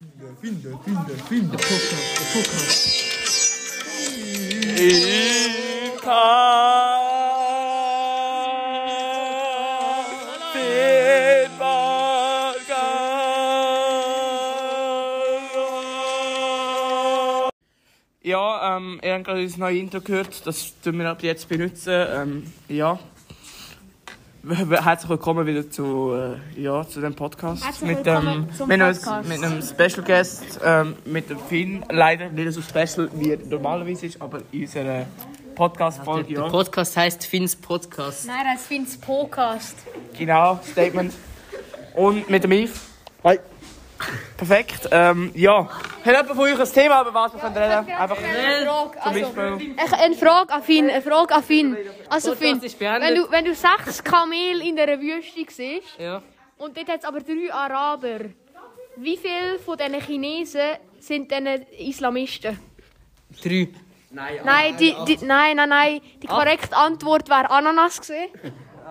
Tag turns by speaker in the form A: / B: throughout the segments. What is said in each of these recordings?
A: Finde, finde, finde, finde. Podcast, Podcast.
B: Ich kann den Podcast. Ja, ähm, ihr habt gerade das neue Intro gehört, das tun wir ab jetzt benutzen. Ähm, ja. Herzlich willkommen wieder zu, äh, ja, zu dem Podcast.
C: Herzlich
B: mit,
C: willkommen
B: ähm,
C: zum
B: mit, uns-
C: Podcast.
B: mit einem Special Guest, ähm, mit dem Finn. Leider nicht so special, wie er normalerweise ist, aber in unserer Podcast-Folge,
D: Der
B: ja.
D: Podcast heißt Finns Podcast.
C: Nein, das Finns Podcast.
B: Genau, Statement. Und mit dem Yves. Hi. Perfekt. Ähm, ja. Hat jemand von euch ein Thema, über was wir können reden Einfach
C: Eine Frage,
B: zum
C: also,
B: Beispiel.
C: ich- eine Frage an Finn, eine Frage an Finn. Also Finn,
D: ist beendet.
C: wenn du, wenn du sechs Kamele in der Wüste siehst
D: Ja.
C: und dort hat es aber drei Araber, wie viele von diesen Chinesen sind denn Islamisten?
D: Drei.
C: Nein, die, die, nein, nein, nein, die korrekte Antwort wäre Ananas gewesen.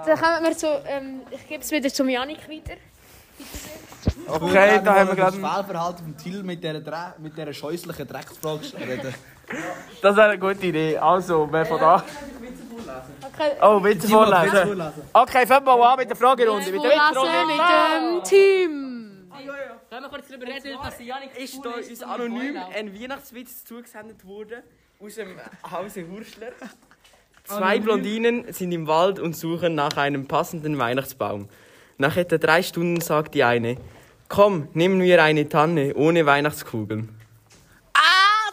C: Dann kommen wir zu, ähm, ich gebe es wieder zum Janik weiter.
B: Okay, da haben wir gerade.
E: das Fehlverhalten von Till mit dieser, Dre mit dieser scheußlichen Drecksfrage reden.
B: Das wäre eine gute Idee. Also, wer von da?
C: Okay.
B: Oh, Witze vorlesen. Okay, fangen wir mal an mit der Fragerunde. Mit der
C: Vorlesen
B: Witzrunde.
C: mit dem Team.
D: Können wir kurz darüber reden, was Janik
F: ist da uns anonym ein Weihnachtswitz zugesendet worden aus dem Hause Hurschler. Zwei Blondinen sind im Wald und suchen nach einem passenden Weihnachtsbaum. Nach etwa drei Stunden sagt die eine: Komm, nehmen wir eine Tanne ohne Weihnachtskugeln.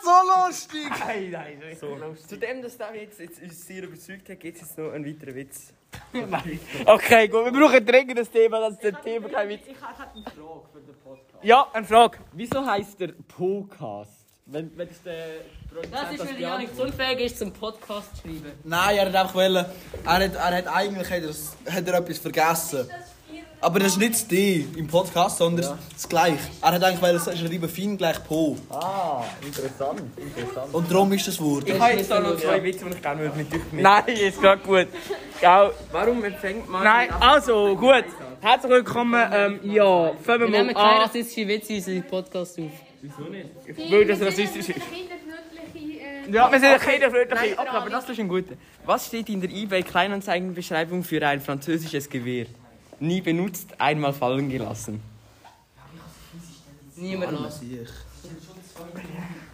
F: Ah, so lustig! Nein, nein, so lustig. Zudem, dass der Witz jetzt uns sehr überzeugt hat, gibt es jetzt noch einen weiteren Witz.
B: Okay, gut. Wir brauchen dringend ein Thema, das ist das Thema kein Witz. Ja, eine Frage.
F: Wieso heißt der Podcast? Wenn, wenn es der
D: Das ist, weil Janik zu unfähig ist, zum Podcast zu schreiben.
E: Nein, er hat einfach wollen. Er hat, er hat eigentlich hat er, hat er etwas vergessen. Aber das ist nicht die im Podcast, sondern das gleich. Er hat eigentlich wollen schreiben Finn gleich Po. Ah, interessant. Und darum ist das Wort.
F: Ich habe jetzt da noch zwei Witze, die ich gerne würde mit euch mitnehmen
B: Nein, ist gerade gut. Genau.
F: Warum empfängt man...
B: Nein, also gut. Herzlich willkommen. Ähm, ja, fangen
D: Wir
B: wir
D: nehmen
B: mal
D: keine
B: an.
D: rassistischen Witze in unseren Podcast auf.
B: Weil das rassistisch ist.
C: äh,
B: Ja, wir sind ein kinderfreundliche.
F: Okay, aber das ist ein guter. Was steht in der eBay Kleinanzeigenbeschreibung für ein französisches Gewehr? Nie benutzt, einmal fallen gelassen.
D: Niemand los.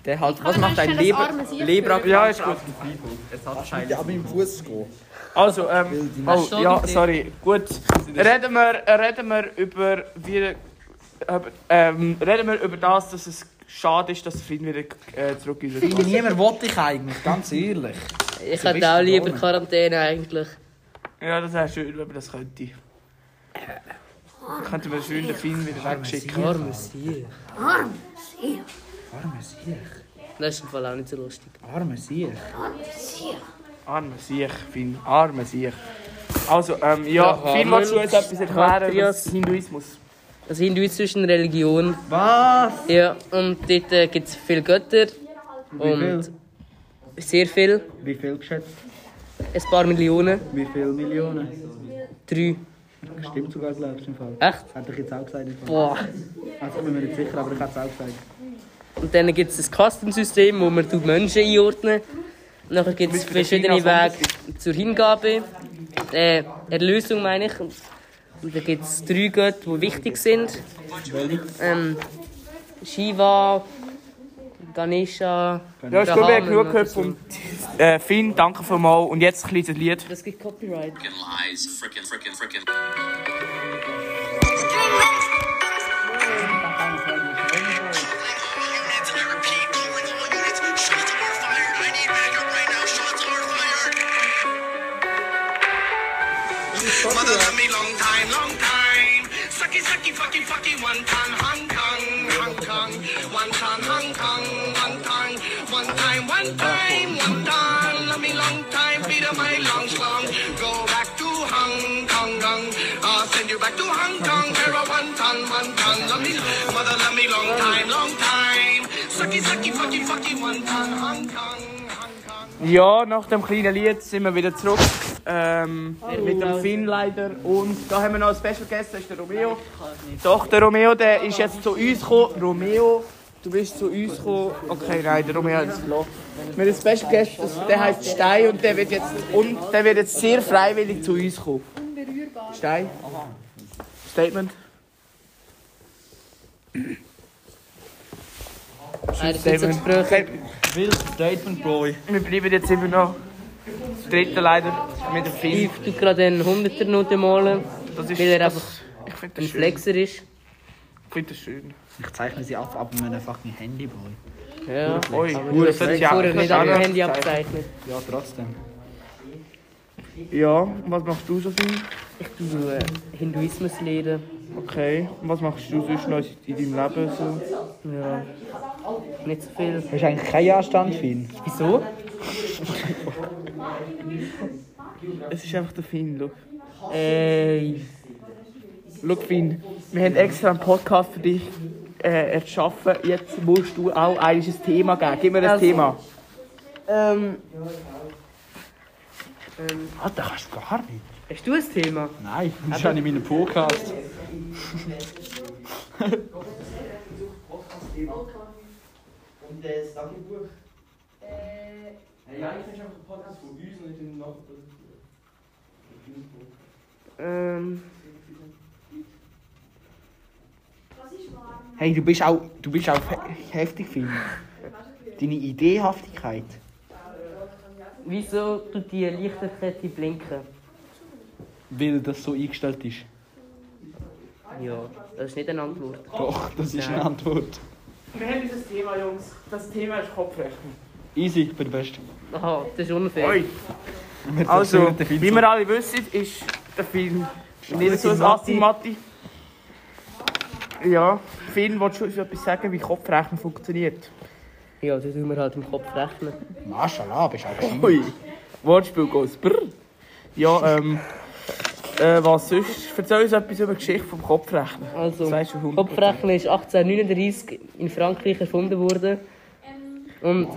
F: Der halt, was
C: man
F: macht ein
C: schnell Ah, das
F: Leber
C: arme Sieg
F: Lebrak?
B: Ja, ist gut.
F: Es hat
E: Ja,
F: scheinbar.
E: aber im Fuß gehen.
B: Also, ähm. Oh, ja, sorry. Gut. Reden wir, reden wir über. Wie, über- ähm, reden wir über das, dass es schade ist, dass Frieden wieder äh, zurück in unsere Klasse
E: Niemand wollte ich eigentlich, ganz ehrlich.
D: Ich
E: Du bist
D: hätte auch lieber
E: verloren.
D: Quarantäne eigentlich.
B: Ja, das wäre schön, wenn man das könnte. Könnten wir schön den Film wieder wegschicken.
D: Armes Sieg.
E: Arme Sieg.
D: Das ist im Fall auch nicht so lustig.
E: Arme Sieg.
B: Armer Sieg, Finn. Armer Sieg. Also, ähm, ja,
D: Aha,
B: Finn, willst du uns etwas erklären über
D: Patrias.
B: den Hinduismus?
D: Also Hinduismus ist eine Religion. Was? Ja, und dort äh, gibt es viele Götter. Und sehr viel.
E: Wie viel geschätzt?
D: Ein paar Millionen.
E: Wie viele Millionen?
D: Drei.
E: Stimmt sogar, glaube ich, im Fall.
D: Echt?
E: Hätte ich jetzt auch gesagt.
D: Boah.
E: Also, ich bin mir nicht sicher, aber ich hätte es auch gesagt.
D: Und dann gibt es ein Kastensystem, wo man die Menschen einordnen Und Nachher gibt es verschiedene Wege zur Hingabe, äh, Erlösung meine ich. Und da gibt es drei Götter, die wichtig sind. Ähm, Shiva, Ganesha,
B: Ja, ich glaube, wir haben
D: Brahman
B: genug
D: oder
B: gehört
D: so.
B: vom äh, Finn. Danke vielmals. Und jetzt ein kleines Lied.
D: Das gibt Copyright.
G: lies, frickin', frickin', frickin'. Mother love me long time, long time. Sucky, sucky, fucky, fucky, one time, Hong Kong, Hong Kong, one time, Hong Kong, one time, one time, one time, one time. Love me long time, Peter, my long slong. Go back to Hong Kong, Kong. I'll send you back to Hong Kong, where I one time, one time. Love me, mother, love me long time, long time. Sucky, sucky, fucky, fucky, one time, Hong Kong, Hong Kong.
B: Ja, nach dem kleinen Lied sind wir wieder zurück. Ähm, mit dem Finn leider. Und da haben wir noch einen Special Guest, das ist der Romeo. Doch, der Romeo, der ist jetzt zu uns gekommen. Romeo, du bist zu uns gekommen. Okay, nein, der Romeo hat es gelassen. Wir haben einen Special Guest, das- der heißt Stein und der wird jetzt, und der wird jetzt sehr freiwillig zu uns kommen. Stein? Statement?
D: Er ist jetzt so gesprochen.
E: Statement, Bro.
B: Wir bleiben jetzt immer noch dritte leider mit dem Finn.
D: Ich tu gerade einen 100er Note malen,
B: Das
D: weil er
B: das-
D: einfach
B: ich finde
D: ein
B: das schön.
D: Flexer ist.
B: Ich finde das schön.
H: Ich zeichne sie ab, ab mit meinem fucking Handy, Boy.
D: Ja.
B: Oi, das hat sich auch
D: Vorher nicht auf dem Handy
B: Ja,
D: abgezeichnet.
H: Ja, trotzdem.
B: Ja, und was machst du so viel?
D: Ich tu äh, Hinduismus lehren.
B: Okay. Und was machst du sonst noch in deinem Leben? So?
D: Ja. Nicht so viel.
H: Hast du eigentlich keinen Anstand, Finn?
D: Wieso?
B: Es ist einfach der Finn, schau.
D: Ey.
B: Schau, Finn, wir haben extra einen Podcast für dich äh, erschaffen. Jetzt musst du auch eigentlich ein Thema geben. Gib mir ein
D: Also-
B: Thema.
D: Ähm,
H: Alter, kannst du gar nicht.
D: hast du ein Thema?
H: Nein, das ist ja nicht mein Podcast.
B: Ähm,
H: Hey, du bist auch, du bist auch he- heftig, Finn. Deine Ideehaftigkeit.
D: Wieso tut die Lichterkette blinken?
H: Weil das so eingestellt ist.
D: Ja, das ist nicht eine Antwort.
H: Doch, das ist eine
D: Nein.
H: Antwort.
B: wir haben dieses Thema, Jungs. Das Thema ist Kopfrechnen.
H: Easy, ich bin der Beste.
D: Aha, das ist unfair.
B: Oi. Also, wie wir alle wissen, ist der Film nicht so ein Assi-Matti. Ja, Finn, willst du uns etwas sagen, wie Kopfrechnen funktioniert?
D: Ja, das tun wir halt im Kopf rechnen.
H: Maschallah, bist auch gescheit.
B: Ui, Wortspiel goes brr. Ja, ähm, äh, was sonst? Erzähl uns etwas über die Geschichte vom Kopfrechnen.
D: Also,
B: Das weisst du 100%.
D: Kopfrechnen ist 1839 in Frankreich erfunden worden. Und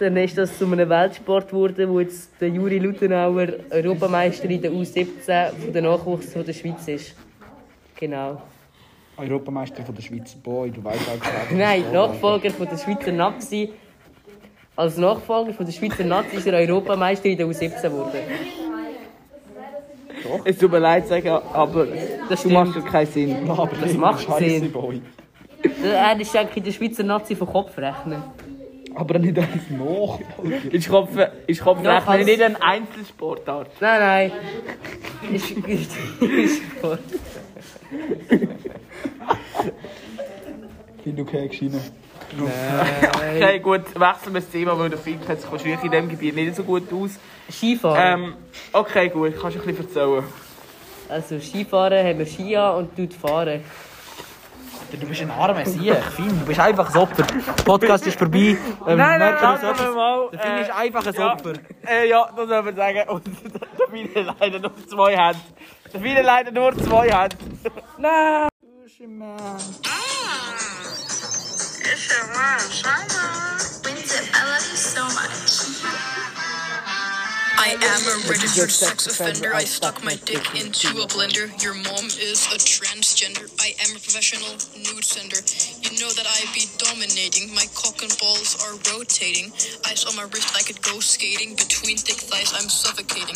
D: dann ist das zu einem Weltsport geworden, wo jetzt der Juri Lutenauer Europameister in der U17 von der Nachwuchs von der Schweiz ist. Genau.
H: Europameister von der Schweiz. Boy, du weißt auch gerade.
D: Nein, Nachfolger von der Schweizer Nazi. Als Nachfolger von der Schweizer Nazi ist er Europameister in der U17 geworden.
B: Es tut mir leid, sagen, aber
D: Das
B: du
D: stimmt.
B: machst keinen Sinn.
H: Aber das
D: macht Sinn.
H: Boy.
D: Er ist eigentlich in der Schweizer Nazi von Kopfrechnen.
H: Aber nicht eins nach.
B: Ist Kopf- ist Kopfrechnen
D: Ja,
B: nicht ein Einzelsportart?
D: Nein, nein. Ist, ist, ist gut.
H: Finn, du kriegst rein.
B: Okay, gut, wechseln wir das Thema, weil der Film kennt sich wahrscheinlich in diesem Gebiet nicht so gut aus.
D: Skifahren.
B: Ähm, okay, gut, kannst du ein bisschen erzählen.
D: Also Skifahren haben wir Ski an und tut fahren.
H: Du bist ein armer Sieg, Finn. Du bist einfach ein Opfer. Der Podcast ist vorbei. Ähm, merkt ihr das
B: lassen wir
H: etwas?
B: mal.
H: Der
E: Eh,
H: Finn ist einfach ein
B: ja.
H: Opfer.
B: Äh, ja, das soll man sagen. Und der Wiener leider nur zwei Hände. Der Wiener leider nur zwei Hände.
I: It's your mom, Shana. Windsor, I love you so much. I am a registered sex offender. I stuck my dick into a blender. Your mom is a transgender. I am a professional nude sender. You know that I be dominating. My cock and balls are rotating. Ice on my wrist, I could go skating. Between thick thighs, I'm suffocating.